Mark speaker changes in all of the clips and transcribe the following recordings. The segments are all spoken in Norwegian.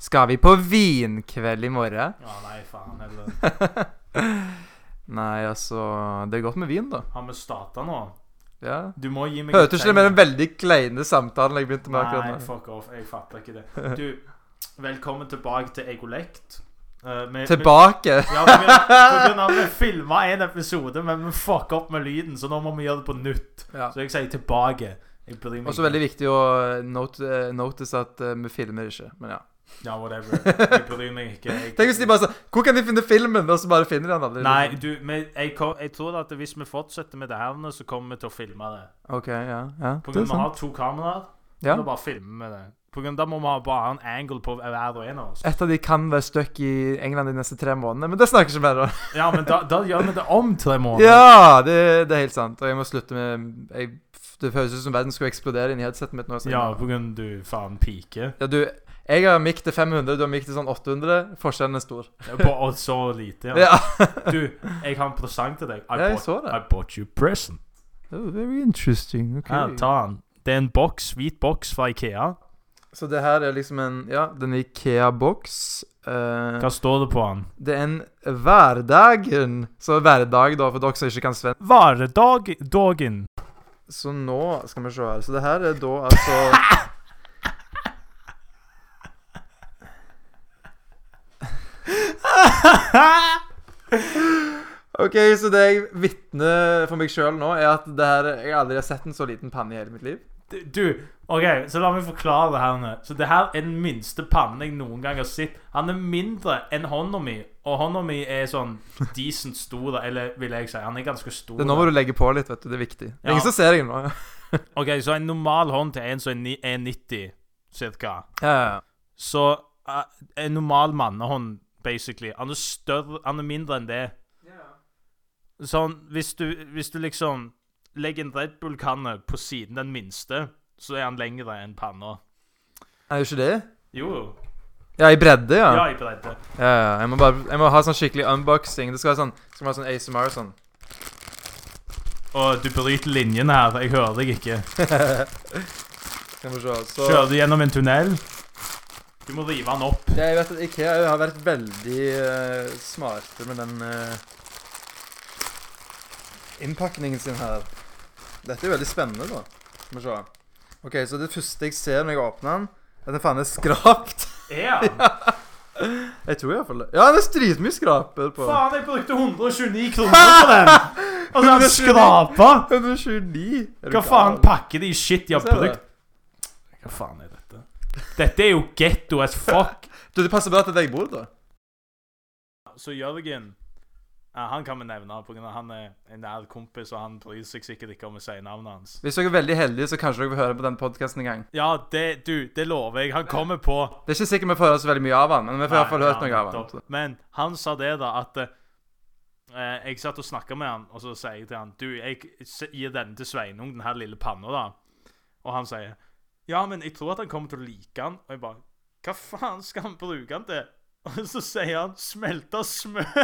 Speaker 1: Skal vi på vinkveld i morgen?
Speaker 2: Ja, nei, faen heller.
Speaker 1: Nei, altså Det er godt med vin, da.
Speaker 2: Har vi starta nå?
Speaker 1: Ja.
Speaker 2: Du må gi meg
Speaker 1: Hørte ikke det med
Speaker 2: tegn.
Speaker 1: den veldig kleine samtalen jeg begynte med
Speaker 2: Nei,
Speaker 1: akkurat nå?
Speaker 2: fuck off. Jeg fatter ikke det. Du, velkommen tilbake til Egolekt. Uh, vi,
Speaker 1: Tilbake!
Speaker 2: Vi, ja, på grunn- på grunn av at vi filma en episode, men vi fucka opp med lyden, så nå må vi gjøre det på nytt.
Speaker 1: Ja.
Speaker 2: Så jeg sier tilbake. Jeg bryr meg
Speaker 1: Også
Speaker 2: ikke.
Speaker 1: veldig viktig å note, eh, notice at eh, vi filmer ikke. Men ja.
Speaker 2: Ja, whatever. Jeg bryr meg ikke. Jeg,
Speaker 1: Tenk hvis de bare sa 'Hvor kan de finne filmen?' Og så bare finner de den aldri.
Speaker 2: Nei, du, men jeg, kom, jeg tror at hvis vi fortsetter med det her, nå, så kommer vi til å filme det.
Speaker 1: OK, ja. ja
Speaker 2: På
Speaker 1: det
Speaker 2: grunn av vi
Speaker 1: er sant.
Speaker 2: har to kameraer,
Speaker 1: Ja.
Speaker 2: og bare filmer vi det. På grunn av da må vi ha bare en angle på hver og en av oss.
Speaker 1: Et av de kan være stuck i England de neste tre månedene, men det snakker ikke mer om.
Speaker 2: Ja, men da, da gjør vi det om tre måneder.
Speaker 1: Ja, det, det er helt sant. Og jeg må slutte med jeg, Det høres ut som verden skulle eksplodere inni headsetet mitt nå. så jeg-
Speaker 2: Ja, på grunn av du faen pike.
Speaker 1: ja, du, jeg har mikk til 500, du har mikk til sånn 800. Forskjellen er stor.
Speaker 2: På, og så lite, ja.
Speaker 1: Ja.
Speaker 2: Du, jeg har en presang til deg. I,
Speaker 1: Ja, jeg
Speaker 2: bought,
Speaker 1: så det.
Speaker 2: I bought you a present.
Speaker 1: Oh, very interesting. ok.
Speaker 2: Her, ta den. Det er en boks, hvit boks fra Ikea.
Speaker 1: Så det her er liksom en Ja, den Ikea-boks. eh,
Speaker 2: Hva står det på den?
Speaker 1: det er en hverdagen. Så hverdag, da, for dere som ikke kan svensk.
Speaker 2: Varedagen.
Speaker 1: Så nå skal vi se her. Så det her er da altså OK, så det jeg vitner for meg sjøl nå, er at det her Jeg aldri har sett en så liten panne i hele mitt liv.
Speaker 2: Du, OK, så la meg forklare det her nå. Så det her er den minste pannen jeg noen gang har sett. Han er mindre enn hånda mi, og hånda mi er sånn decent stor, eller vil jeg si. Han er ganske stor.
Speaker 1: Det er nå må du legge på litt, vet du. Det er viktig. Det er
Speaker 2: Ja.
Speaker 1: ingen som ser deg nå.
Speaker 2: OK, så en normal hånd til en som er ni- er 90, cirka.
Speaker 1: Ja, ja, ja.
Speaker 2: Så eh, en normal mannehånd, basically Han er større Han er mindre enn det. Sånn, hvis du, hvis du liksom legger en Red Bull-kanne på siden den minste, så er han lengre enn panna.
Speaker 1: Er det ikke det?
Speaker 2: Jo, jo.
Speaker 1: Ja, i bredde, ja.
Speaker 2: Ja, i bredde.
Speaker 1: Ja, ja. Jeg må bare Jeg må ha sånn skikkelig unboxing. Det skal være sånn Skal være sånn ASMR sånn.
Speaker 2: Og du bryter linjen her. Jeg hører deg ikke.
Speaker 1: Skal vi se. Så
Speaker 2: Kjører du gjennom en tunnel? Du må rive den opp.
Speaker 1: Jeg vet at IKEA har vært veldig eh, smarte med den eh, innpakningen sin her. Dette er jo veldig spennende, da. Skal vi se. OK, så det første jeg ser når jeg åpner den, er at den faen er skrapt.
Speaker 2: Ja!
Speaker 1: Jeg tror iallfall det. Ja, det er dritmye skraper på.
Speaker 2: Faen, jeg brukte 129 kroner på den! Og så har han skrapa!
Speaker 1: 129. Er du
Speaker 2: Hva faen
Speaker 1: gal?
Speaker 2: pakker de i shit de har
Speaker 1: Se det.
Speaker 2: brukt? Hva faen er dette? Dette er jo getto as fuck.
Speaker 1: Du, det passer bra til deg jeg bor, da.
Speaker 2: Så Jørgen ja, Han kan vi nevne, på grunn av han er en nær kompis, og han bryr seg sikkert ikke om å si navnet hans.
Speaker 1: Hvis dere er veldig heldige, så kanskje dere får høre på den podkasten en gang.
Speaker 2: Ja, det, du, det lover jeg. Han kommer på.
Speaker 1: Det er ikke sikkert vi får høre så veldig mye av han, men vi får i hvert fall
Speaker 2: Nei,
Speaker 1: hørt noe av
Speaker 2: nettopp.
Speaker 1: han.
Speaker 2: Men han sa det, da, at eh, Jeg satt og snakka med han, og så sier jeg til han Du, jeg s- gir denne til Sveinung, den her lille panna, da. Og han sier Ja, men jeg tror at han kommer til å like han. Og jeg bare Hva faen skal han bruke han til? Og så sier han Smelta smør.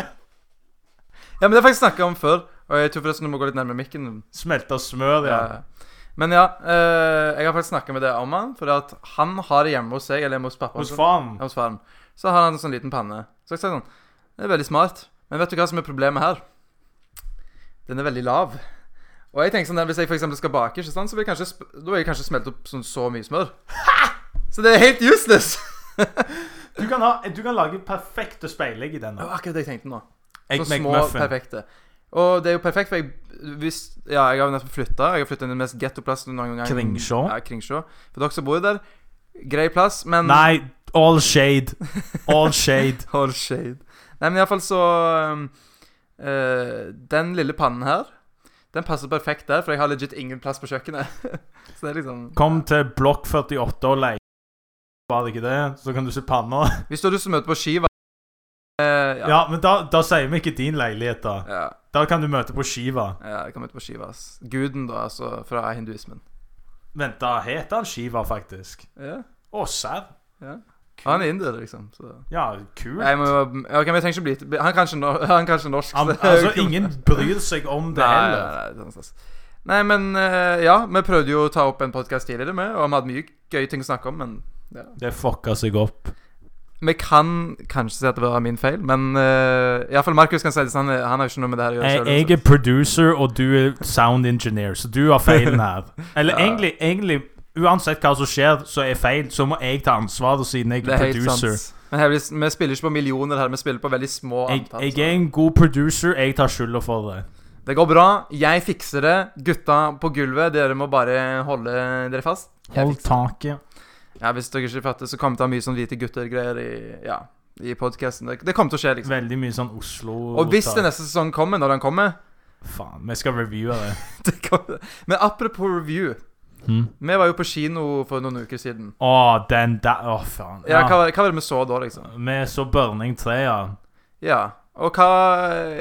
Speaker 1: Ja, men det har jeg faktisk snakka om før, og jeg tror forresten du må gå litt nærmere mikken.
Speaker 2: Smelta smør, ja.
Speaker 1: Eh, Men ja, eh, jeg har faktisk snakka med det om han, for at han har det hjemme hos seg, eller hjemme hos pappa.
Speaker 2: Hos faren.
Speaker 1: Ja, hos faren. Så har han en sånn liten panne. Så jeg sa sånn Det er veldig smart, men vet du hva som er problemet her? Den er veldig lav. Og jeg tenker sånn der, Hvis jeg for eksempel skal bake, ikke sant, så vil jeg kanskje sp Da vil jeg kanskje smelte opp sånn så mye smør. Så det er helt useless!
Speaker 2: Du kan, ha, du kan lage perfekte speilegg i den.
Speaker 1: Det var akkurat det jeg tenkte nå.
Speaker 2: Egg
Speaker 1: så små, perfekte. Og det er jo perfekt, for jeg hvis, Ja, jeg har jo nettopp flytta. Jeg har flytta inn i den mest gettoplassen noen gang.
Speaker 2: Kringsjå.
Speaker 1: Ja, Kringsjå. For dere som bor der, grei plass, men
Speaker 2: Nei, all shade. All shade.
Speaker 1: All shade. Nei, men iallfall så um, eh, Den lille pannen her, den passer perfekt der, for jeg har legit ingen plass på kjøkkenet. så det er liksom
Speaker 2: Kom til blokk 48 og leik. Var det ikke det, så kan du se panna.
Speaker 1: Hvis du har lyst til å møte på Skiva eh,
Speaker 2: Ja,
Speaker 1: ja.
Speaker 2: men da, da sier vi ikke din leilighet, da.
Speaker 1: Ja,
Speaker 2: Da kan du møte på Shiva.
Speaker 1: ja, jeg kan møte på Shiva. ass. Guden, da, altså, fra hinduismen.
Speaker 2: Vent, da heter han Shiva, faktisk.
Speaker 1: Ja.
Speaker 2: Å, serr.
Speaker 1: Ja.
Speaker 2: Kult.
Speaker 1: Han er inder, liksom. Så.
Speaker 2: Ja, kult.
Speaker 1: Nei, men, ok, men jeg trenger ikke bli bli- Han kan ikke, nor han kan ikke norsk.
Speaker 2: Han,
Speaker 1: så-
Speaker 2: altså, ingen bryr seg om det
Speaker 1: Nei, nei,
Speaker 2: heller.
Speaker 1: nei, det er sånn stas. nei, men eh, ja. Vi prøvde jo å ta opp en podkast tidligere, med, og vi hadde mye gøye ting å snakke om, men ja.
Speaker 2: Det fucka seg opp.
Speaker 1: Vi kan kanskje si at det var min feil, men uh, iallfall Markus kan si det. så Han, han har jo ikke noe med det her å gjøre
Speaker 2: Jeg,
Speaker 1: selv, altså.
Speaker 2: jeg er producer, og du er sound engineer, så du har feilen her. Eller
Speaker 1: Ja.
Speaker 2: egentlig, egentlig Uansett hva som skjer, så er feil, så må jeg ta ansvaret, siden jeg
Speaker 1: Det
Speaker 2: er
Speaker 1: er helt
Speaker 2: producer.
Speaker 1: sant. Men her, vi, vi spiller ikke på millioner her, vi spiller på veldig små
Speaker 2: Jeg,
Speaker 1: antall.
Speaker 2: jeg er en god producer, jeg tar skylda for det.
Speaker 1: så. Det går bra. Jeg fikser det. Gutta på gulvet, dere må bare holde dere fast. Jeg
Speaker 2: Hold
Speaker 1: fikser
Speaker 2: taket.
Speaker 1: Ja, Hvis dere ikke fatter, så kommer det til å ha mye sånn hvite gutter-greier i, ja, i podkasten. Det, det kommer til å skje, liksom.
Speaker 2: Veldig mye sånn Oslo
Speaker 1: Og hvis den neste sesongen kommer, når den kommer,
Speaker 2: Faen, vi skal reviewe det.
Speaker 1: det kommer Men apropos review.
Speaker 2: Hmm.
Speaker 1: Vi var jo på kino for noen uker siden.
Speaker 2: Å, den der Å, faen.
Speaker 1: Ja, hva, var- hva var det vi så da, liksom?
Speaker 2: Vi så Burning 3, ja.
Speaker 1: Ja. Og hva,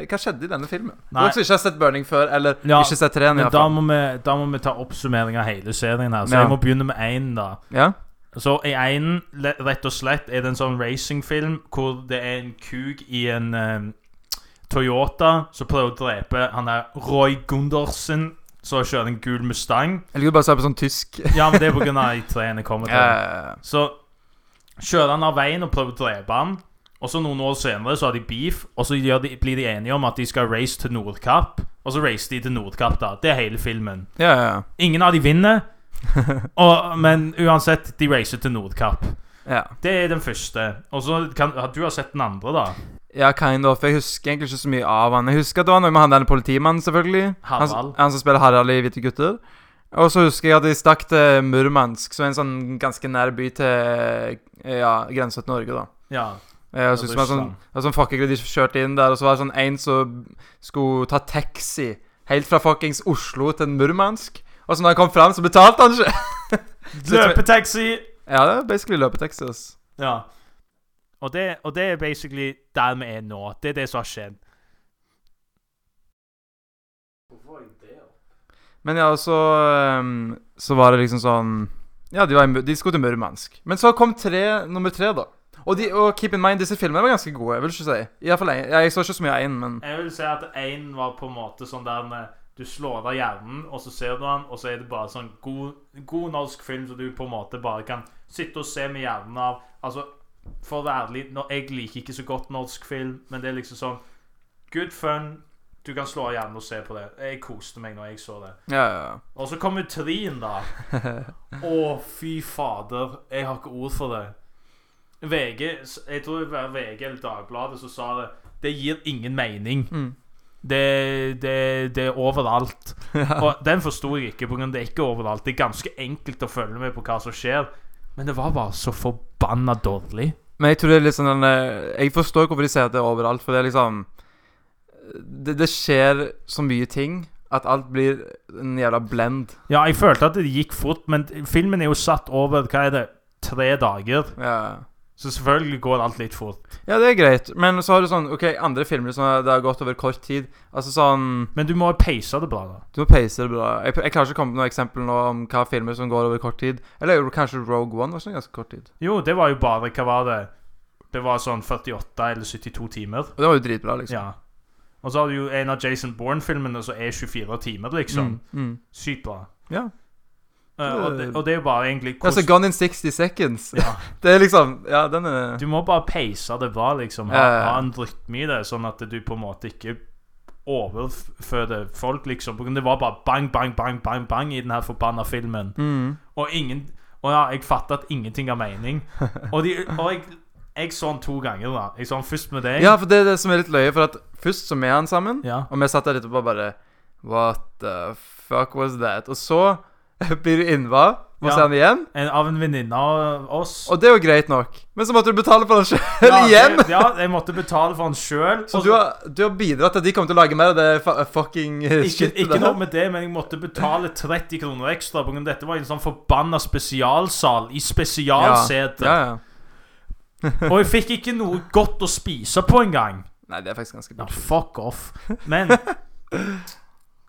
Speaker 1: hva skjedde i denne filmen?
Speaker 2: Nei.
Speaker 1: Dere som ikke har sett Burning før, eller
Speaker 2: Ja,
Speaker 1: ikke sett treen,
Speaker 2: Men da
Speaker 1: iallfall.
Speaker 2: må, vi, da må vi ta oppsummering av hele serien her, så
Speaker 1: Ja.
Speaker 2: jeg må begynne med én, da.
Speaker 1: Ja?
Speaker 2: Så i én, le- rett og slett, er det en sånn racingfilm hvor det er en kuk i en eh, Toyota som prøver å drepe han der Roy Gundersen, som kjører en gul Mustang.
Speaker 1: Eller du bare sa på sånn tysk
Speaker 2: Ja, men det er på grunn av de treene jeg kommer til.
Speaker 1: Eh,
Speaker 2: Så kjører han av veien og prøver å drepe han. Og så noen år senere så har de beef, og så gjør de, blir de enige om at de skal race til Nordkapp. Og så racer de til Nordkapp, da. Det er hele filmen.
Speaker 1: Ja, ja,
Speaker 2: Ingen av de vinner, og, men uansett, de racer til Nordkapp.
Speaker 1: ja. ja.
Speaker 2: Det er den første. Og så kan Du har sett den andre, da.
Speaker 1: Ja, kind of. Jeg husker egentlig ikke så mye av han. Jeg husker at det var noe med han der politimannen, selvfølgelig. Han,
Speaker 2: Harald.
Speaker 1: han som spiller Harald i Hvite gutter. Og så husker jeg at de stakk til Murmansk, som er en sånn ganske nær by til eh, ja, grensa til Norge, da.
Speaker 2: Ja.
Speaker 1: Eh, Og så husker jeg sånn,
Speaker 2: Russland.
Speaker 1: det var sånn fucking De kjørte inn der, og så var det sånn en som skulle ta taxi helt fra fuckings Oslo til Murmansk. Og så når han kom fram, så betalte han ikke!
Speaker 2: Løpetaxi!
Speaker 1: Ja, det er basically løpetaxi, ass.
Speaker 2: Ja. Og det, og det er basically der vi er nå. Det er det som har skjedd.
Speaker 1: Men ja, og så ehm, Så var det liksom sånn Ja, de, var i, Mu- de skulle til Murmansk. Men så kom tre, nummer tre, da. Og, de, og keep in mind, disse filmene var ganske gode, vil du ikke si. I hvert fall en, jeg, jeg så ikke så mye av én, men
Speaker 2: Jeg vil si at én var på en måte sånn der med Du slår av hjernen, og så ser du han, og så er det bare sånn god, god norsk film som du på en måte bare kan sitte og se med hjernen av. Altså, for å være ærlig, nå- jeg liker ikke så godt norsk film, men det er liksom sånn Good fun. Du kan slå av hjernen og se på det. Jeg koste meg når jeg så det.
Speaker 1: ja, ja,
Speaker 2: Og så kommer Trien, da. Å, fy fader. Jeg har ikke ord for det. VG Jeg tror det var VG eller Dagbladet som sa det. Det gir ingen mening.
Speaker 1: ja. Mm.
Speaker 2: Det, det, det er overalt. Og den forsto jeg ikke, pga. det er ikke overalt. Det er ganske enkelt å følge med på hva som skjer. Men det var bare så forbanna dårlig.
Speaker 1: Men jeg tror det er litt sånn den, eh, Jeg forstår hvorfor de sier at det er overalt, for det er liksom det, det skjer så mye ting at alt blir en jævla blend.
Speaker 2: Ja, jeg følte at det gikk fort, men filmen er jo satt over hva er det, tre dager.
Speaker 1: Ja.
Speaker 2: Så selvfølgelig går alt litt fort.
Speaker 1: ja, det er greit, men så har du sånn OK, andre filmer som det har gått over kort tid. Altså sånn
Speaker 2: Men du må peise det bra, da.
Speaker 1: Du må pace det bra. Jeg, jeg klarer ikke å komme med noe eksempel nå om hva filmer som går over kort tid. Eller jo, kanskje Rogue One var sånn ganske kort tid.
Speaker 2: Jo, det var jo bare Hva var det? Det var sånn 48 eller 72 timer.
Speaker 1: Og det var jo dritbra, liksom.
Speaker 2: Ja. Og så har du jo en av Jason Bourne-filmene som er 24 timer, liksom.
Speaker 1: Mm, mm.
Speaker 2: Sykt bra.
Speaker 1: Ja.
Speaker 2: Eh, og, det, og det er jo bare egentlig
Speaker 1: Altså,
Speaker 2: hvordan-
Speaker 1: Gone in 60 Seconds.
Speaker 2: ja,
Speaker 1: Det er liksom Ja, den er
Speaker 2: Du må bare peise det bra, liksom. Ha,
Speaker 1: Ja, ja, ja.
Speaker 2: ha en rytme i det, sånn at du på en måte ikke overføder folk, liksom. På grunn av Det var bare bang, bang, bang, bang, bang i den her forbanna filmen.
Speaker 1: mm.
Speaker 2: Og ingen Og ja, jeg fatter at ingenting har mening. Og, de, og jeg, jeg så den to ganger, da. Jeg så den først med deg.
Speaker 1: Ja, for det er det som er litt løye, for at først så er han sammen,
Speaker 2: Ja.
Speaker 1: og vi satt der etterpå og bare What the fuck was that? Og så blir du innva,
Speaker 2: Ja.
Speaker 1: og så er han igjen.
Speaker 2: En, av en venninne av oss.
Speaker 1: Og det er jo greit nok, men så måtte du betale for den sjøl
Speaker 2: Ja,
Speaker 1: igjen!
Speaker 2: det- Ja, jeg måtte betale for den sjøl.
Speaker 1: Så du har, du har bidratt til at de kommer til å lage mer av det fa- fucking eh,
Speaker 2: Ikke,
Speaker 1: shitet
Speaker 2: ikke
Speaker 1: der.
Speaker 2: noe med det, men jeg måtte betale 30 kroner ekstra. På grunn av dette var en sånn forbanna spesialsal i spesialsete.
Speaker 1: Ja, ja.
Speaker 2: Og jeg fikk ikke noe godt å spise på engang.
Speaker 1: Nei, det er faktisk ganske
Speaker 2: Ja,
Speaker 1: bra.
Speaker 2: fuck off. Men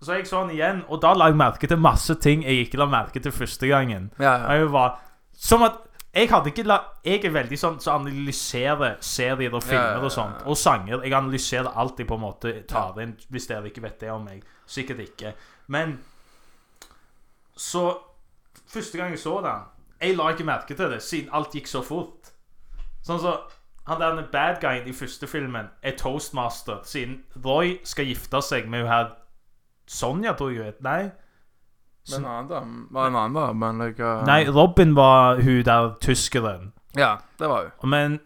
Speaker 2: Så jeg så den igjen, og da la jeg merke til masse ting jeg ikke la merke til første gangen.
Speaker 1: Ja,
Speaker 2: Og
Speaker 1: ja.
Speaker 2: Jeg var Som at jeg hadde ikke la Jeg er veldig sånn som analyserer serier og
Speaker 1: Ja, ja,
Speaker 2: filmer
Speaker 1: ja.
Speaker 2: og sånt. Og sanger. Jeg analyserer alt jeg på en måte tar inn, hvis dere ikke vet det om meg. Sikkert ikke. Men Så Første gang jeg så den Jeg la ikke merke til det, siden alt gikk så fort. Sånn så Han der den bad guyen i første filmen er toastmaster, siden Roy skal gifte seg med hun her Sonja, tror jeg hun het. Nei.
Speaker 1: Men en annen dame Var en annen dame, men like, uh,
Speaker 2: Nei, Robin var hun der tyskeren.
Speaker 1: Ja, det var hun.
Speaker 2: Men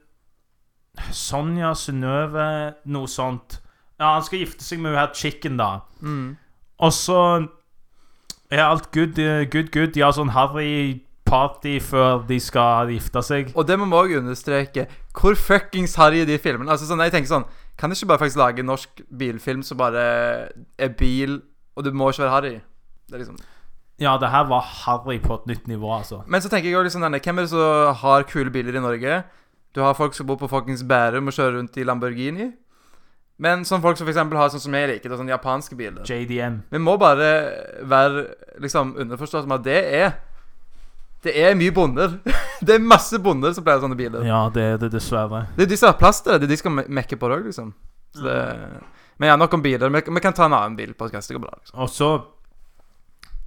Speaker 2: Sonja Synnøve, noe sånt Ja, han skal gifte seg med hun her chicken, da.
Speaker 1: Mm.
Speaker 2: Og så er alt good, eh, good, good. De har sånn harry party før de skal gifte seg.
Speaker 1: Og det må vi òg understreke. Hvor fuckings harry er de filmene? Altså sånn, jeg tenker sånn Kan de ikke bare faktisk lage en norsk bilfilm som bare er bil, og du må ikke være harry? Det er liksom
Speaker 2: Ja, det her var harry på et nytt nivå, altså.
Speaker 1: Men så tenker jeg også liksom denne Hvem er det som har kule biler i Norge? Du har folk som bor på fuckings Bærum og kjører rundt i Lamborghini. Men sånn folk som for eksempel har sånn som jeg liker, det er sånne japanske biler.
Speaker 2: JDM.
Speaker 1: Vi må bare være liksom underforstått med at det er Det er mye bonder. det er masse bonder som pleier sånne biler.
Speaker 2: Ja, det er det dessverre.
Speaker 1: Det er de som har plass til det. Det er de som skal me- mekke på det òg, liksom. Så det, men ja, nok om biler. Vi, vi kan ta en annen bil på podcast. Det går bra, liksom.
Speaker 2: Og så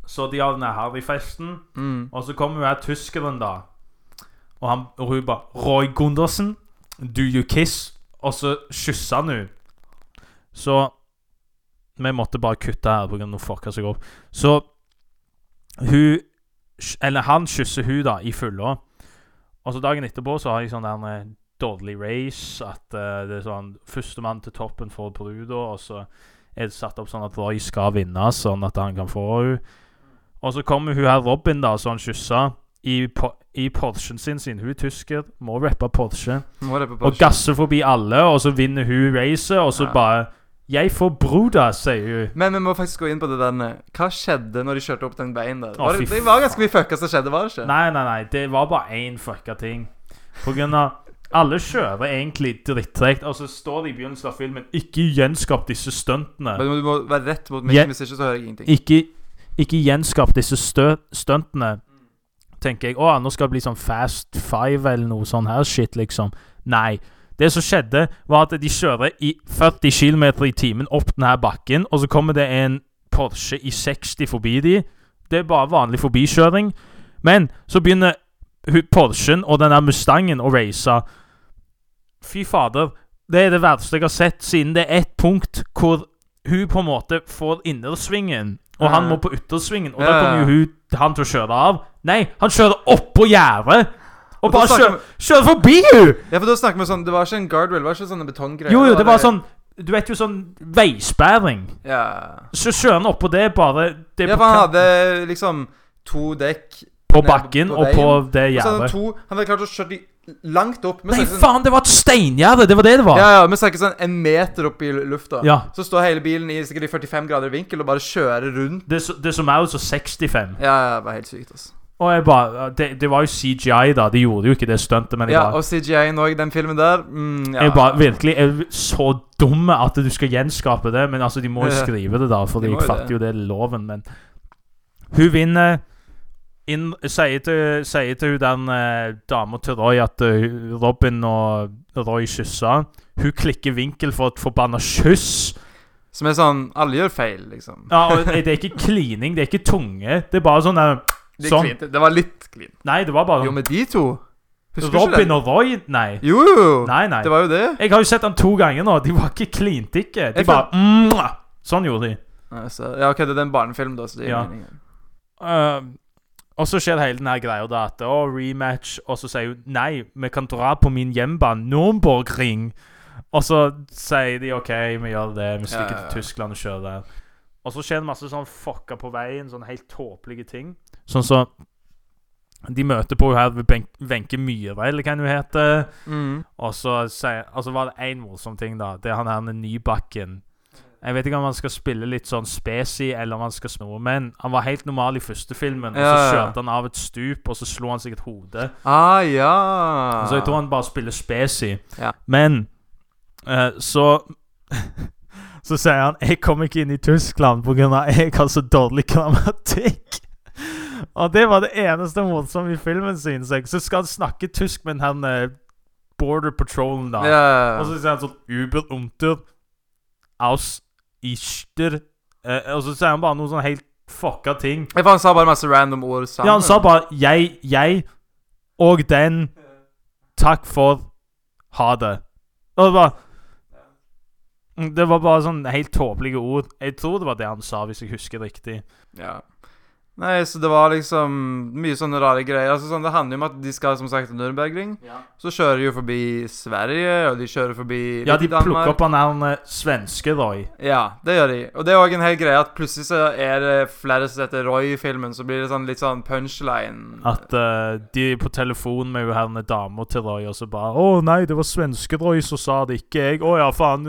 Speaker 2: Så de har den her harryfesten,
Speaker 1: Mm.
Speaker 2: og så kommer jo her tyskeren, da. Og, han, og hun bare 'Roy Gundersen, do you kiss?' Og så kysser han henne. Så Vi måtte bare kutte her pga. noe fucka seg opp. Så hun Eller han kysser hun da, i fylla. Og så dagen etterpå så har jeg sånn der eh, dårlig race. At eh, det er sånn Førstemann til toppen får bruda, og så er det satt opp sånn at Roy skal vinne, sånn at han kan få henne. Og så kommer hun her Robin, da, som han kyssa, i, po i Porschen sin, siden hun er tysker. Må rappe Porsche.
Speaker 1: Må det på
Speaker 2: Og
Speaker 1: Porsche.
Speaker 2: gasser forbi alle, og så vinner hun racet, og så
Speaker 1: Ja.
Speaker 2: bare 'Jeg får broda', sier hun.
Speaker 1: Men vi må faktisk gå inn på det der med- Hva skjedde når de kjørte opp den veien der?
Speaker 2: Å,
Speaker 1: Var
Speaker 2: fy
Speaker 1: det, det var ganske mye fucka som skjedde, var det ikke?
Speaker 2: Nei, nei, nei, det var bare én fucka ting. På grunn av Alle kjører egentlig dritttregt, og så står det i begynnelsen av filmen 'Ikke gjenskap disse stuntene'.
Speaker 1: Men du må være rett mot
Speaker 2: Ja.
Speaker 1: mikken, hvis ikke så hører jeg ingenting.
Speaker 2: ikke, ikke gjenskap disse stø stuntene, tenker jeg. Å, nå skal det bli sånn Fast Five eller noe sånn her shit, liksom. Nei. Det som skjedde, var at de kjører i 40 km i timen opp denne bakken, og så kommer det en Porsche i 60 forbi de. Det er bare vanlig forbikjøring. Men så begynner hu- Porschen og den der Mustangen å race. Fy fader. Det er det verste jeg har sett, siden det er ett punkt hvor hun på en måte får innersvingen, og han
Speaker 1: Ja.
Speaker 2: må på yttersvingen, og
Speaker 1: Ja,
Speaker 2: da
Speaker 1: ja, ja.
Speaker 2: kommer jo hun han til å kjøre av. Nei, han kjører oppå gjerdet! Og,
Speaker 1: Og da
Speaker 2: bare
Speaker 1: snakker
Speaker 2: kjører, kjører forbi henne!
Speaker 1: Ja, for da snakker vi sånn Det var ikke en guardrail, det var ikke sånne betonggreier.
Speaker 2: Jo, jo, det var sånn Du vet jo sånn veisperring.
Speaker 1: Ja.
Speaker 2: Så kjører han oppå det, bare det er
Speaker 1: ja,
Speaker 2: på,
Speaker 1: for han
Speaker 2: kan-
Speaker 1: hadde liksom to dekk
Speaker 2: på
Speaker 1: ned
Speaker 2: bakken
Speaker 1: på
Speaker 2: og på det
Speaker 1: Og så hadde
Speaker 2: gjerdet.
Speaker 1: han to Han hadde klart å kjøre de langt opp. Vi
Speaker 2: Nei,
Speaker 1: snakker sånn-
Speaker 2: faen, det var et steingjerde! Det var det det var.
Speaker 1: Ja, ja, vi snakker sånn en meter opp i lufta.
Speaker 2: Ja.
Speaker 1: Så står hele bilen i sikkert i 45 grader vinkel og bare kjører rundt.
Speaker 2: Det, så- det som er jo så 65.
Speaker 1: Ja, ja, det var helt sykt, altså.
Speaker 2: Og jeg bare det, det var jo CGI, da. De gjorde jo ikke det stuntet, men jeg
Speaker 1: Ja,
Speaker 2: bare
Speaker 1: og CGI-en òg, den filmen der. Mm, ja.
Speaker 2: Jeg bare virkelig er så dumme at du skal gjenskape det, men altså, de må jo
Speaker 1: Ja.
Speaker 2: skrive det, da, for
Speaker 1: De
Speaker 2: de,
Speaker 1: må jo
Speaker 2: fatter
Speaker 1: det.
Speaker 2: jo det er loven, men Hun vinner inn, sier, til, sier til hun den eh, dama til Roy at eh, Robin og Roy kyssa. Hun klikker vinkel for et forbanna kyss.
Speaker 1: Som er sånn Alle gjør feil, liksom.
Speaker 2: Ja, og det er ikke klining, det er ikke tunge. Det er bare sånn der,
Speaker 1: Det, er
Speaker 2: sånn.
Speaker 1: clean. det var litt clean.
Speaker 2: Nei, det var bare
Speaker 1: Jo,
Speaker 2: sånn
Speaker 1: med de to Husker du ikke
Speaker 2: Robin
Speaker 1: det?
Speaker 2: og Roy Nei.
Speaker 1: Jo, jo.
Speaker 2: Nei, nei.
Speaker 1: Det var jo det.
Speaker 2: Jeg har jo sett han to ganger nå. De var ikke klinte ikke. De
Speaker 1: Jeg
Speaker 2: bare «Mwah!» Sånn gjorde de.
Speaker 1: Nei, så, ja, OK, det er en barnefilm, da, så det gir
Speaker 2: Ja.
Speaker 1: mening.
Speaker 2: Eh, og så skjer hele den her greia da at å, rematch, og så sier hun nei, vi kan dra på min hjembane, Nürnbergring. Og så sier de OK, vi gjør det, vi stikker
Speaker 1: Ja, ja, ja.
Speaker 2: til Tyskland og kjører der. Og så skjer det masse sånn fucka på veien, sånn helt tåpelige ting. Sånn som de møter på her ved Benk- Wenche Myhre, eller hva hun heter.
Speaker 1: Mm.
Speaker 2: Og så sier, altså var det én morsom ting, da. Det er han her Nybakken. Jeg vet ikke om han skal spille litt sånn spesi, eller om han skal sno, men han var helt normal i første filmen. Og
Speaker 1: Ja,
Speaker 2: så
Speaker 1: ja, ja.
Speaker 2: kjørte han av et stup, og så slo han seg et hode.
Speaker 1: Ah, ja.
Speaker 2: Så jeg tror han bare spiller spesi.
Speaker 1: Ah. Ja.
Speaker 2: Men eh, så Så sier han 'Jeg kommer ikke inn i Tyskland pga. jeg har så dårlig grammatikk'. Og det var det eneste morsomme i filmen, synes jeg. Så skal han snakke tysk med han eh, border patrolen, da.
Speaker 1: ja.
Speaker 2: Og så sier han sånn Uber umter aus ister eh, Og så sier han bare noen sånn helt fucka ting.
Speaker 1: Jeg for han sa bare masse random ord sammen.
Speaker 2: Ja, han sa bare 'jeg, jeg og den'. Takk for Ha det. Og det var Det var bare sånn helt tåpelige ord. Jeg tror det var det han sa, hvis jeg husker riktig.
Speaker 1: Ja. Nei, så det var liksom mye sånne rare greier. Altså sånn, Det handler jo om at de skal som sagt til Nürnbergring. Så kjører de jo forbi Sverige, og de kjører forbi
Speaker 2: Ja, de
Speaker 1: litt Danmark.
Speaker 2: plukker opp han der eh, svenske, Roy.
Speaker 1: Ja, det gjør de. Og det er òg en hel greie at plutselig så er det flere som heter Roy i filmen, så blir det sånn litt sånn punchline.
Speaker 2: At eh, de er på telefon med jo herne dama til Roy, og så bare 'Å nei, det var svenske Roy som sa det, ikke jeg.' 'Å ja, faen.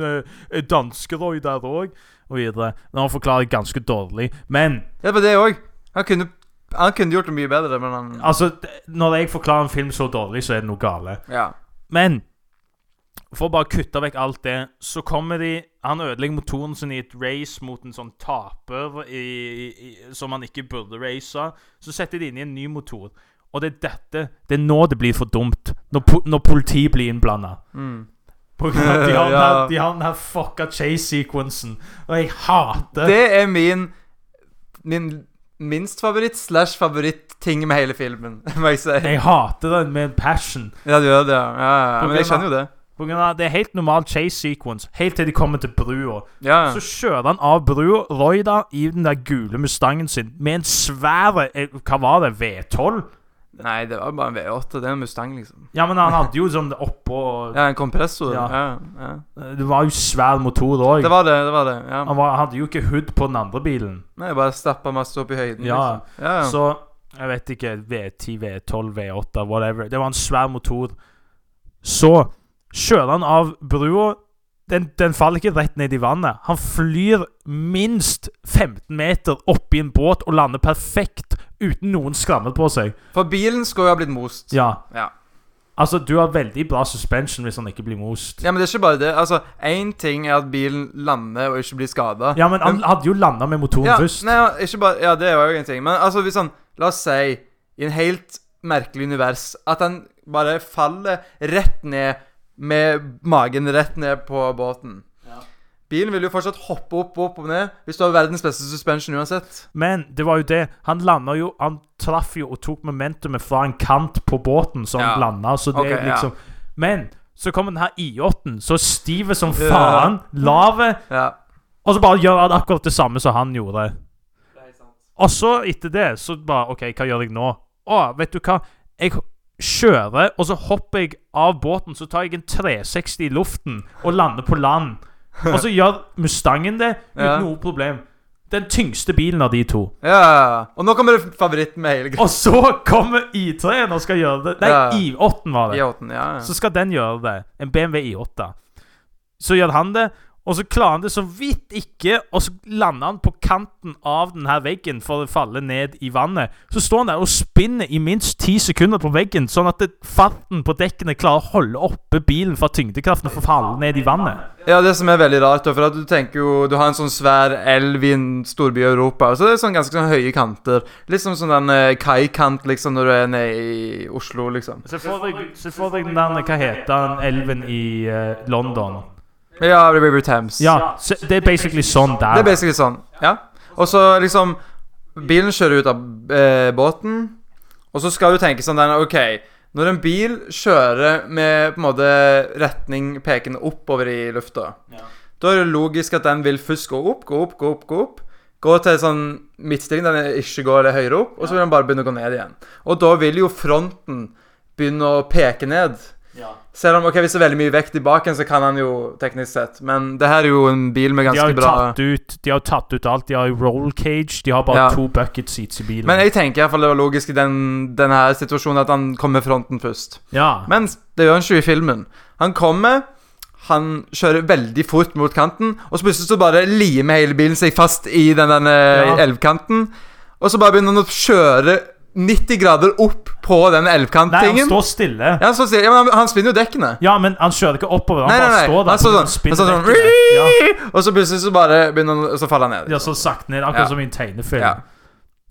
Speaker 2: eh, danske Roy der òg.' Og videre. Nå forklarer jeg ganske dårlig, men
Speaker 1: Ja, det var det òg. Han, kunne- han kunne gjort det mye bedre, men han
Speaker 2: altså d- Når jeg forklarer en film så dårlig, så er det noe gale.
Speaker 1: Ja.
Speaker 2: Men for å bare kutte vekk alt det, så kommer de Han ødelegger motoren sin i et race mot en sånn taper i, i, som han ikke burde race. Så setter de inn i en ny motor. Og det er dette Det er nå det blir for dumt. Når, po når politiet blir innblanda.
Speaker 1: Mm.
Speaker 2: På grunn av at de har den her,
Speaker 1: Ja.
Speaker 2: de har den her fucka chase-sequensen. Og jeg hater
Speaker 1: Det er min Min minst favoritt slash favoritt-ting med hele filmen, må jeg si.
Speaker 2: Jeg hater den med en passion.
Speaker 1: Ja, du gjør det, ja. ja, ja.
Speaker 2: På
Speaker 1: Men
Speaker 2: grunn
Speaker 1: jeg
Speaker 2: av-
Speaker 1: skjønner jo det.
Speaker 2: På grunn av at Det er helt normal chase-sequence helt til de kommer til brua.
Speaker 1: Ja.
Speaker 2: Så kjører han av brua, Roy da, i den der gule Mustangen sin, med en svære eh, Hva var det? V12?
Speaker 1: Nei, det var bare en V8. Det er en Mustang, liksom.
Speaker 2: Ja, men han hadde jo sånn det oppå
Speaker 1: Ja, en kompressor. Ja.
Speaker 2: Ja.
Speaker 1: Ja,
Speaker 2: Det var jo svær motor òg.
Speaker 1: Det var det, det var det. Ja.
Speaker 2: Han var, hadde jo ikke hood på den andre bilen.
Speaker 1: Nei, jeg bare stappa masse opp i høyden.
Speaker 2: Ja.
Speaker 1: liksom. ja.
Speaker 2: Så jeg vet ikke V10, V12, V8, whatever. Det var en svær motor. Så kjører han av brua. Den, den faller ikke rett ned i vannet. Han flyr minst 15 meter opp i en båt og lander perfekt uten noen skrammer på seg.
Speaker 1: For bilen skulle jo ha blitt most.
Speaker 2: Ja.
Speaker 1: Ja.
Speaker 2: Altså, du har veldig bra suspension hvis han ikke blir most. Ja,
Speaker 1: Ja, men det er ikke bare det. Altså, Én ting er at bilen lander og ikke blir skada.
Speaker 2: men han hadde jo landa med motoren
Speaker 1: Ja,
Speaker 2: først.
Speaker 1: nei, ja, ikke bare, ja, det var jo en ting. Men altså, hvis han La oss si, i en helt merkelig univers, at han bare faller rett ned med magen rett ned på båten. Bilen vil jo fortsatt hoppe opp opp og ned hvis du har verdens beste suspension uansett.
Speaker 2: Men det var jo det. Han landa jo Han traff jo og tok momentumet fra en kant på båten, så han
Speaker 1: Ja.
Speaker 2: landa. Så det
Speaker 1: Ok,
Speaker 2: er
Speaker 1: ja.
Speaker 2: liksom Men så kommer den her I8-en, så stive som
Speaker 1: Ja.
Speaker 2: faen, lave,
Speaker 1: Ja.
Speaker 2: og så bare gjør han akkurat det samme som han gjorde. Og så, etter det, så bare OK, hva gjør jeg nå? Å, vet du hva? Jeg kjører, og så hopper jeg av båten, så tar jeg en 360 i luften og lander på land. Og så gjør Mustangen det uten
Speaker 1: Ja.
Speaker 2: noe problem. Den tyngste bilen av de to.
Speaker 1: ja. Og nå kommer det favoritten med hele greia.
Speaker 2: Og så kommer I3-en og skal gjøre det. Nei,
Speaker 1: Ja.
Speaker 2: I8-en var det.
Speaker 1: Ja, ja.
Speaker 2: Så skal den gjøre det. En BMW I8. Så gjør han det, og så klarer han det så vidt ikke, og så lander han på kanten av denne veggen for å falle ned i vannet. Så står han der og spinner i minst ti sekunder på veggen, sånn at det- farten på dekkene klarer å holde oppe bilen fra tyngdekraften og få falle ned i vannet.
Speaker 1: Ja, det som er veldig rart, da, for at du tenker jo Du har en sånn svær elv i en storby i Europa, og så er det sånn ganske sånn høye kanter. Litt som sånn den eh, kaikant, liksom, når du er nede i Oslo, liksom.
Speaker 2: Se for deg, se for deg den der, hva heter den elven i eh, London?
Speaker 1: Ja, River Thames.
Speaker 2: Ja, se, det er basically sånn der.
Speaker 1: Det er basically sånn. Ja. Og så liksom Bilen kjører ut av eh, båten, og så skal du tenke sånn der OK. Når en bil kjører med på en måte retning pekende oppover i lufta, da er det logisk at den vil først gå opp, gå opp, gå opp, gå opp. Gå til sånn midtstilling der den ikke går eller høyere opp, og så vil den bare begynne å gå ned igjen. Og da vil jo fronten begynne å peke ned. Selv om ok, hvis det er veldig mye vekt i baken, så kan han jo teknisk sett. Men det her er jo en bil med
Speaker 2: De har
Speaker 1: ganske
Speaker 2: jo
Speaker 1: bra
Speaker 2: tatt ut, de har jo tatt ut alt. De har jo roll cage. De har bare
Speaker 1: Ja.
Speaker 2: to bucket seats i bilen.
Speaker 1: Men jeg tenker i hvert fall det var logisk i den, denne her situasjonen at han kom med fronten først.
Speaker 2: ja.
Speaker 1: Men det gjør han ikke i filmen. Han kommer, han kjører veldig fort mot kanten, og så plutselig så bare limer hele bilen seg fast i den denne
Speaker 2: Ja.
Speaker 1: elvkanten. Og så bare begynner han å kjøre 90 grader opp på den
Speaker 2: Nei, han
Speaker 1: elvkanttingen.
Speaker 2: står stille.
Speaker 1: Ja, han, står stille. ja, men han, han spinner jo dekkene.
Speaker 2: Ja, men han kjører ikke oppover. Han
Speaker 1: Nei, nei,
Speaker 2: bare
Speaker 1: nei.
Speaker 2: står der.
Speaker 1: Han står
Speaker 2: på
Speaker 1: sånn-
Speaker 2: den spinnen-
Speaker 1: han står Og så plutselig så bare begynner han, og så faller han ned.
Speaker 2: Ja. ja, så sakte ned. Akkurat
Speaker 1: Ja.
Speaker 2: som i en tegnefilm.
Speaker 1: Ja.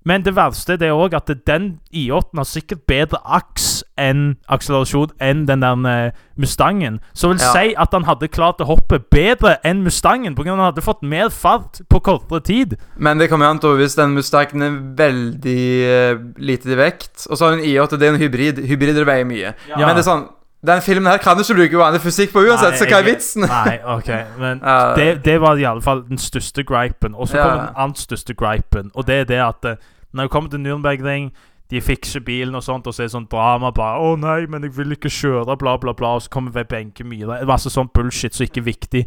Speaker 2: Men det verste det er òg at den I8-en har sikkert bedre aks enn akselerasjon enn den der eh, Mustangen. Så vil
Speaker 1: Ja.
Speaker 2: si at han hadde klart å hoppe bedre enn Mustangen, pga. at han hadde fått mer fart på kortere tid.
Speaker 1: Men det kommer jo an på hvis den Mustangen er veldig eh, lite i vekt. Og så har hun i8, det er en hybrid. Hybrider veier mye.
Speaker 2: Ja.
Speaker 1: Men det er sånn Den filmen her kan du ikke bruke vanlig fysikk på uansett, så hva er
Speaker 2: jeg-
Speaker 1: vitsen?
Speaker 2: Nei, OK. Men
Speaker 1: Ja.
Speaker 2: det, det var iallfall den største gripen. Og så
Speaker 1: Eh, Ja.
Speaker 2: kommer den annen største gripen, og det er det at eh, når det kommer til Nürnbergring de fikser bilen og sånt, og så er det sånn drama bare 'Å nei, men jeg vil ikke kjøre', bla, bla, bla. Og så kommer Wenche Myhre. Det var altså sånn bullshit som ikke er viktig.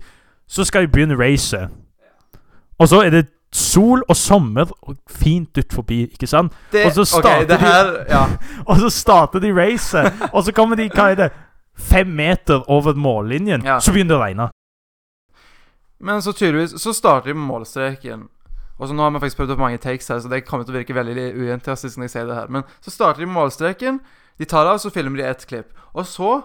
Speaker 2: Så skal vi begynne racet. Og så er det sol og sommer og fint ut forbi, ikke sant?
Speaker 1: Det,
Speaker 2: Og så
Speaker 1: ok,
Speaker 2: starter
Speaker 1: det
Speaker 2: de-
Speaker 1: her, ja.
Speaker 2: Og så starter de racet, og så kommer de hva er det, fem meter over mållinjen.
Speaker 1: Ja.
Speaker 2: Så begynner det å regne.
Speaker 1: Men så tydeligvis så starter de med målstreken. Og så Nå har vi faktisk prøvd opp mange takes her, så det kommer til å virke veldig uentusiastisk når jeg sier det her. Men så starter de med målstreken, de tar av, så filmer de ett klipp. Og så,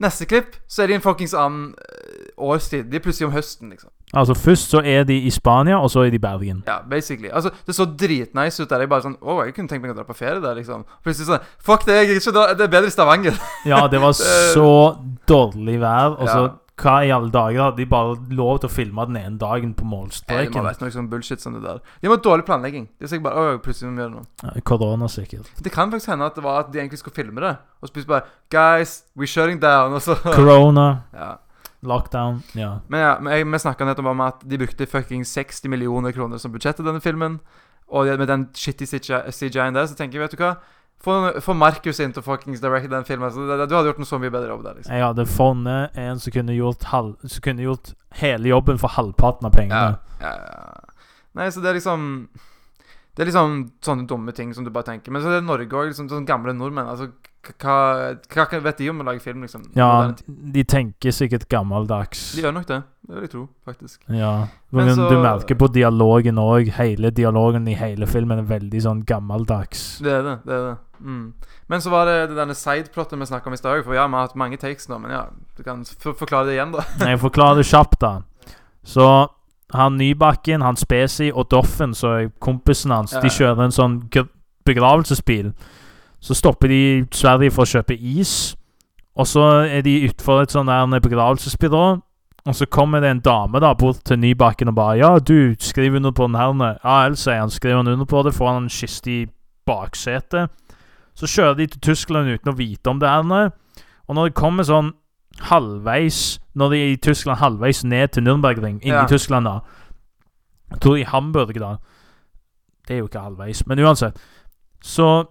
Speaker 1: neste klipp, så er de i en fuckings annen eh, årstid. De er plutselig om høsten, liksom.
Speaker 2: Altså Først så er de i Spania, og så er de i Bergen.
Speaker 1: Ja, basically. Altså, det så dritnice ut der. Jeg bare sånn Å, jeg kunne tenkt meg å dra på ferie der, liksom. Plutselig sånn Fuck det, jeg vil ikke dra. Det er bedre i Stavanger.
Speaker 2: Ja, det var så dårlig vær. Og så
Speaker 1: Ja.
Speaker 2: Hva i alle dager hadde de bare lov til å filme den ene dagen på
Speaker 1: Det må ha
Speaker 2: målstreken?
Speaker 1: vært noe sånn bullshit som det der. De må ha dårlig planlegging. De er sikkert bare Å, plutselig må vi gjøre noe.
Speaker 2: Ja, Korona, sikkert.
Speaker 1: Det kan faktisk hende at det var at de egentlig skulle filme det, og så plutselig bare Guys, we're shutting down, og så
Speaker 2: Corona,
Speaker 1: ja.
Speaker 2: lockdown Ja.
Speaker 1: Men ja, men jeg, vi snakka nettopp om at de brukte fucking 60 millioner kroner som budsjett til denne filmen, og det- med den shitty CGI-en der, så tenker jeg, vet du hva Få, få Markus inn til å fuckings directe den filmen. Så det, det, du hadde gjort en så mye bedre jobb der. liksom
Speaker 2: Jeg hadde funnet en som kunne gjort, halv, som kunne gjort hele jobben for halvparten av pengene.
Speaker 1: Ja, ja. Nei, så det er liksom Det er liksom sånne dumme ting som du bare tenker. Men så er det Norge òg, liksom, sånne gamle nordmenn. Altså, k- hva, hva kan- vet de om å lage film, liksom?
Speaker 2: Ja,
Speaker 1: Moderne ting.
Speaker 2: de tenker sikkert gammeldags.
Speaker 1: De gjør nok det. Det vil jeg tro, faktisk.
Speaker 2: Ja.
Speaker 1: Men
Speaker 2: Men
Speaker 1: så-
Speaker 2: du merker på dialogen òg. Hele dialogen i hele filmen er veldig sånn gammeldags.
Speaker 1: Det er det. det er det. Mm. Men så var det denne sideplotten vi snakka om i stad òg. For ja, vi har hatt mange takes nå, men ja, du kan f forklare det igjen, da.
Speaker 2: Jeg forklarer det kjapt, da. Så han Nybakken, han Spesi og Doffen, så er kompisen hans,
Speaker 1: Ja.
Speaker 2: de kjører en sånn gr- begravelsesbil. Så stopper de i Sverige for å kjøpe is. Og så er de utenfor et sånn der begravelsesbyrå. Og så kommer det en dame da bort til Nybakken og bare 'Ja, du, skriv under på den her.' nå.» Ja, ellers sier han. Skriver han under på det, får han en kiste i baksetet. Så kjører de til Tyskland uten å vite om det her. nå. Og når det kommer sånn halvveis Når de er i Tyskland halvveis ned til Nürnbergring, inne
Speaker 1: Ja.
Speaker 2: i Tyskland, da Jeg tror i Hamburg, da Det er jo ikke halvveis, men uansett. Så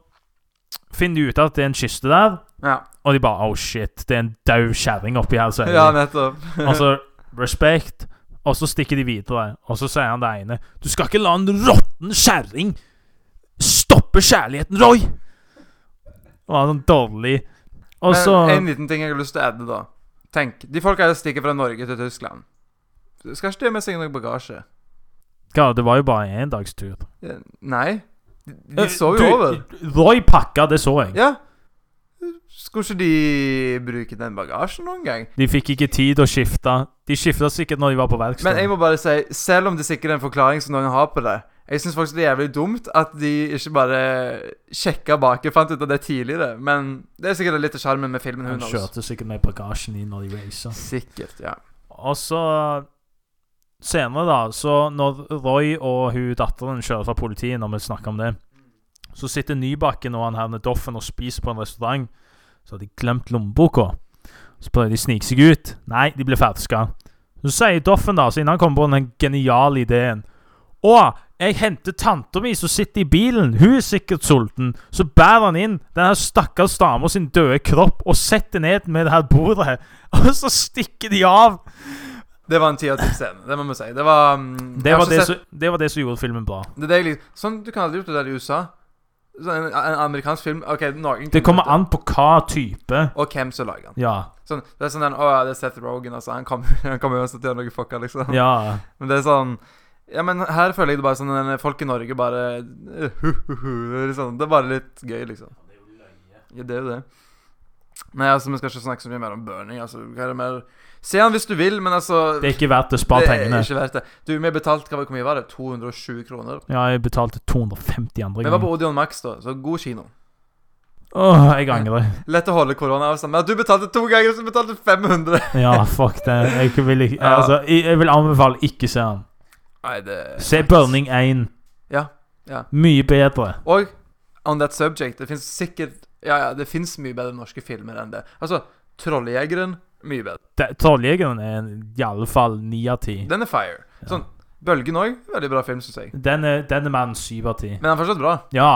Speaker 2: finner de ut at det er en kiste der,
Speaker 1: Ja,
Speaker 2: og de bare 'Oh shit, det er en daud kjerring oppi her', sier de.
Speaker 1: ja nettopp.
Speaker 2: Altså, respekt. Og så stikker de videre. Og så sier han det ene Du skal ikke la en råtten kjerring stoppe kjærligheten, Roy! Og han er sånn dårlig. Og så
Speaker 1: Men en liten ting jeg har lyst til å adde, da. Tenk, de folka her stikker fra Norge til Tyskland. Skal ikke de ha med seg noe bagasje?
Speaker 2: Ja, det var jo bare en endagstur.
Speaker 1: Eh, Nei. De,
Speaker 2: Eh,
Speaker 1: de sov jo over.
Speaker 2: Roy pakka, det så jeg.
Speaker 1: Ja. Skulle ikke de bruke den bagasjen noen gang?
Speaker 2: De fikk ikke tid å skifte. De skifta sikkert når de var på
Speaker 1: Men
Speaker 2: verkstedet.
Speaker 1: jeg må bare si, selv om det sikkert er en forklaring som noen har på det Jeg syns faktisk det er jævlig dumt at de ikke bare sjekka baki, fant ut av det tidligere. Men det er sikkert litt av sjarmen med filmen. Hun
Speaker 2: Han kjørte sikkert med bagasjen inn når de racer.
Speaker 1: Sikkert, ja.
Speaker 2: Og så Senere, da, så når Roy og hun datteren kjører fra politiet, når vi snakker om det, så sitter Nybakken og han her Doffen og spiser på en restaurant. Så har de glemt lommeboka. Så prøver de å snike seg ut. Nei, de blir ferska. Så sier Doffen, da, siden han kommer på den geniale ideen Å, jeg henter tanta mi som sitter i bilen. Hun er sikkert sulten. Så bærer han inn den her stakkars dama sin døde kropp og setter ned med det her bordet. Og så stikker de av.
Speaker 1: Det var en ti av ti-scene. Det må vi si. Det var mm,
Speaker 2: Det
Speaker 1: jeg har
Speaker 2: var
Speaker 1: ikke
Speaker 2: det,
Speaker 1: sett-
Speaker 2: som, det var det som gjorde filmen bra.
Speaker 1: det, er det jeg liker. Sånn du kan aldri gjort det der i USA. Sånn, en, en amerikansk film OK, noen
Speaker 2: Det
Speaker 1: kunne
Speaker 2: kommer
Speaker 1: gjort
Speaker 2: an på hva type.
Speaker 1: Og hvem som lager den.
Speaker 2: Ja.
Speaker 1: Sånn, det er sånn den Å ja, det er Seth Rogan, altså. Han kommer han kommer uansett til å gjøre noe fucka, liksom.
Speaker 2: ja.
Speaker 1: Men det er sånn Ja, men her føler jeg det bare sånn den- Folk i Norge bare eh, det er sånn, Det er bare litt gøy, liksom. Ja, det er jo det. Nei, altså, vi skal ikke snakke så mye mer om burning. Altså, hva er det mer Se han hvis du vil, men altså
Speaker 2: Det er ikke verdt å spare
Speaker 1: det er
Speaker 2: pengene.
Speaker 1: ikke verdt det. Du, vi betalte hva hvor mye var det? 220 kroner.
Speaker 2: Ja, jeg betalte 250 andre
Speaker 1: Vi var
Speaker 2: ganger.
Speaker 1: på Odeon Max, da, så god kino.
Speaker 2: Åh, jeg angrer.
Speaker 1: Lett å holde koronaavstand. Men at du betalte to ganger, så betalte du 500!
Speaker 2: Ja, fuck det. Jeg ikke vil, ikke,
Speaker 1: Ja.
Speaker 2: altså, jeg, jeg vil anbefale ikke se den.
Speaker 1: Nei, det
Speaker 2: Se Burning 1.
Speaker 1: Ja, ja.
Speaker 2: Mye bedre.
Speaker 1: Og on that subject, det fins sikkert Ja, ja, det fins mye bedre norske filmer enn det. Altså, Trolljegeren mye bedre.
Speaker 2: Trolljegeren er iallfall ni av ti.
Speaker 1: Den er fire.
Speaker 2: Ja.
Speaker 1: Sånn, Bølgen òg. Veldig bra film, syns jeg.
Speaker 2: Den er, den er mer enn syv av ti.
Speaker 1: Men den er fortsatt bra.
Speaker 2: Ja.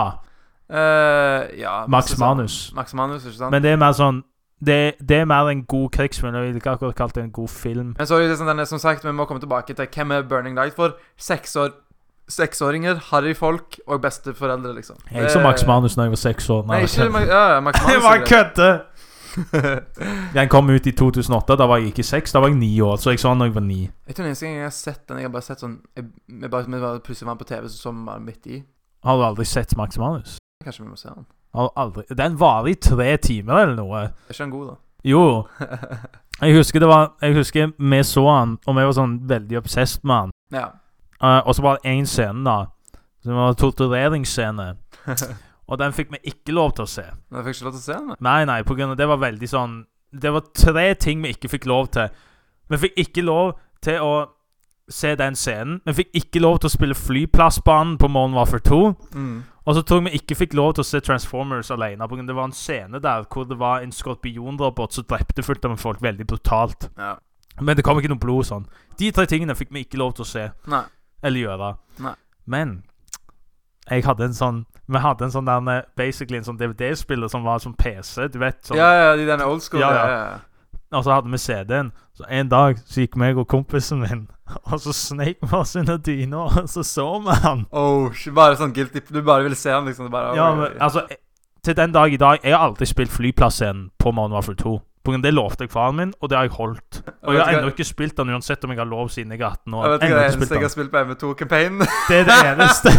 Speaker 1: Eh, ja
Speaker 2: Max
Speaker 1: så-
Speaker 2: Manus.
Speaker 1: Max Manus, ikke sant? Men,
Speaker 2: Men det er mer sånn Det, det er mer en god krigsfilm. Jeg ville ikke akkurat kalt det en god film.
Speaker 1: så er det liksom, den er, som sagt, vi må komme tilbake til hvem er Burning Light for. Seksår, seksåringer, harryfolk og besteforeldre, liksom.
Speaker 2: Jeg så Max Manus da jeg var seks år.
Speaker 1: Nei, ikke Ma
Speaker 2: jeg
Speaker 1: ja, ja, Max Manus. eh.
Speaker 2: bare
Speaker 1: er greit.
Speaker 2: kødder! Den kom ut i 2008. Da var jeg ikke seks, da var jeg ni år. Så jeg så den da jeg var ni.
Speaker 1: Jeg tror den eneste gang jeg har sett den, jeg har bare sett sånn jeg, jeg bare, Vi bare plutselig var den på TV, så så vi bare midt i.
Speaker 2: Har du aldri sett Max Manus?
Speaker 1: Kanskje vi må se den.
Speaker 2: Har du aldri Den varer i tre timer eller noe.
Speaker 1: Er ikke den god, da?
Speaker 2: Jo. Jeg husker det var Jeg husker vi så han, og vi var sånn veldig obsessed med han.
Speaker 1: ja.
Speaker 2: Eh, og så var det én scene, da. Som var en tortureringsscene. Og den fikk vi ikke lov til å se.
Speaker 1: Men jeg fikk ikke lov til å se den. da.
Speaker 2: Nei, nei, på grunn av det var veldig sånn Det var tre ting vi ikke fikk lov til. Vi fikk ikke lov til å se den scenen. Vi fikk ikke lov til å spille Flyplassbanen på Modern Warfare 2.
Speaker 1: Mm.
Speaker 2: Og så tror jeg vi ikke fikk lov til å se Transformers alene. På grunn av det var en scene der hvor det var en skorpionrobot som drepte fullt av folk veldig brutalt.
Speaker 1: Ja.
Speaker 2: Men det kom ikke noe blod og sånn. De tre tingene fikk vi ikke lov til å se
Speaker 1: Nei.
Speaker 2: eller gjøre.
Speaker 1: Nei.
Speaker 2: Men jeg hadde en sånn Vi hadde en sånn der, eh, basically en sånn DVD-spiller som var som PC, du vet. Sånn.
Speaker 1: ja, ja, de der old school.
Speaker 2: Ja,
Speaker 1: Ja,
Speaker 2: ja.
Speaker 1: ja. ja.
Speaker 2: Og så hadde vi CD-en. Så en dag så gikk meg og kompisen min, og så sneik vi oss under dyna, og så så vi han.
Speaker 1: Oh, shit, bare sånn guilty Du bare ville se den, liksom. Det bare,
Speaker 2: Ja, men altså eh, Til den dag i dag Jeg har aldri spilt flyplassen på Modern Warfare 2. På grunn av Det lovte jeg faren min, og det har jeg holdt. Og jeg har ennå ikke spilt den, uansett om jeg har lov siden jeg er 18 år.
Speaker 1: Jeg vet ikke
Speaker 2: Ennå
Speaker 1: hva det
Speaker 2: ikke spilt
Speaker 1: eneste jeg har
Speaker 2: den.
Speaker 1: spilt på MV2-campaignen.
Speaker 2: Det er det eneste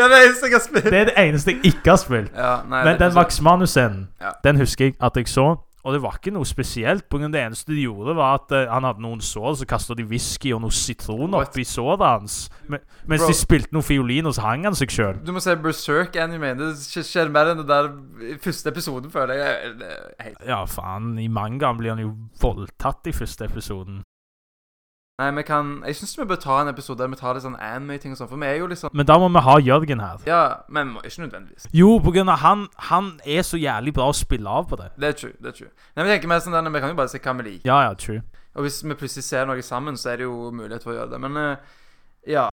Speaker 1: ja, det eneste jeg har spilt.
Speaker 2: Det er det eneste jeg ikke har spilt.
Speaker 1: Ja, nei,
Speaker 2: Men
Speaker 1: det er
Speaker 2: den
Speaker 1: kanskje-
Speaker 2: Max Manus-scenen,
Speaker 1: Ja.
Speaker 2: den husker jeg at jeg så. Og det var ikke noe spesielt. På grunn av Det eneste de gjorde, var at eh, han hadde noen sår, så kasta de whisky og noe sitron
Speaker 1: What?
Speaker 2: oppi såret hans. Men, mens
Speaker 1: Bro.
Speaker 2: de spilte noe fiolin, og så hang han seg sjøl.
Speaker 1: Du må se Berserk anime. Det skj- skjer mer enn det der i første episoden, føler jeg. Det er helt-
Speaker 2: Ja, faen. I mangaen blir han jo voldtatt i første episoden.
Speaker 1: Nei, vi kan Jeg syns vi bør ta en episode der vi tar litt sånn anime-ting og sånn, for vi er jo litt sånn
Speaker 2: Men da må vi ha Jørgen her.
Speaker 1: Ja, men må- ikke nødvendigvis.
Speaker 2: Jo, på grunn av han, han er så jævlig bra å spille av på det.
Speaker 1: Det er true. det er true Nei, men jeg tenker mer sånn der, Vi kan jo bare se hva vi liker.
Speaker 2: Ja, ja, true.
Speaker 1: Og hvis vi plutselig ser noe sammen, så er det jo mulighet for å gjøre det. Men eh, ja.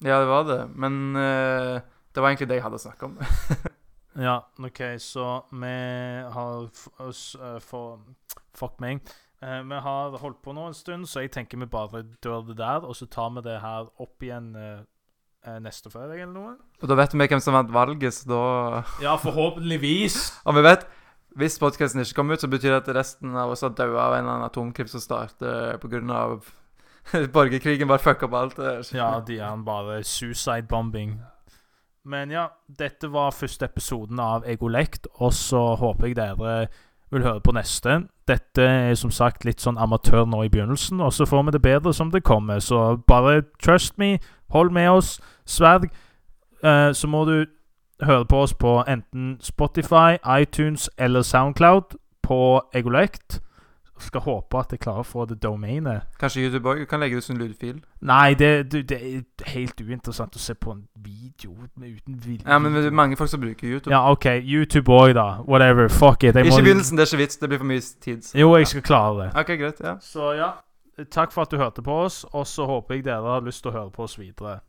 Speaker 1: Ja, det var det. Men eh, det var egentlig det jeg hadde å snakke om.
Speaker 2: Ja, OK, så vi har f oss, eh, for, Fuck meg. Eh, vi har holdt på nå en stund, så jeg tenker vi bare dør det der, og så tar vi det her opp igjen eh, eh, neste fredag eller noe.
Speaker 1: Og da vet vi hvem som vant valget, så da
Speaker 2: Ja, forhåpentligvis.
Speaker 1: Og vi vet hvis podkasten ikke kommer ut, så betyr det at resten av oss har daua av en eller annen atomkrig som starter pga. borgerkrigen. Bare fuck opp alt. det er-
Speaker 2: Ja, de er han bare suicide bombing. Men ja, dette var første episoden av Egolekt, og så håper jeg dere vil høre på neste. Dette er som sagt litt sånn amatør nå i begynnelsen, og så får vi det bedre som det kommer. Så bare trust me, hold med oss, sverg. Eh, så må du høre på oss på enten Spotify, iTunes eller Soundcloud på Egolekt. Skal håpe at jeg klarer å få det domainet.
Speaker 1: Kanskje YouTube òg kan legge ut sin lydfil.
Speaker 2: Nei, det, du, det er helt uinteressant å se på en video med- uten vilje.
Speaker 1: Ja, men det er mange folk som bruker YouTube.
Speaker 2: Ja, OK. YouTube òg, da. Whatever. Fuck it. Jeg
Speaker 1: ikke
Speaker 2: må-
Speaker 1: i begynnelsen, det er ikke vits. Det blir for mye tid.
Speaker 2: Jo, jeg skal klare det.
Speaker 1: OK, greit. Ja.
Speaker 2: Så ja. Takk for at du hørte på oss, og så håper jeg dere har lyst til å høre på oss videre.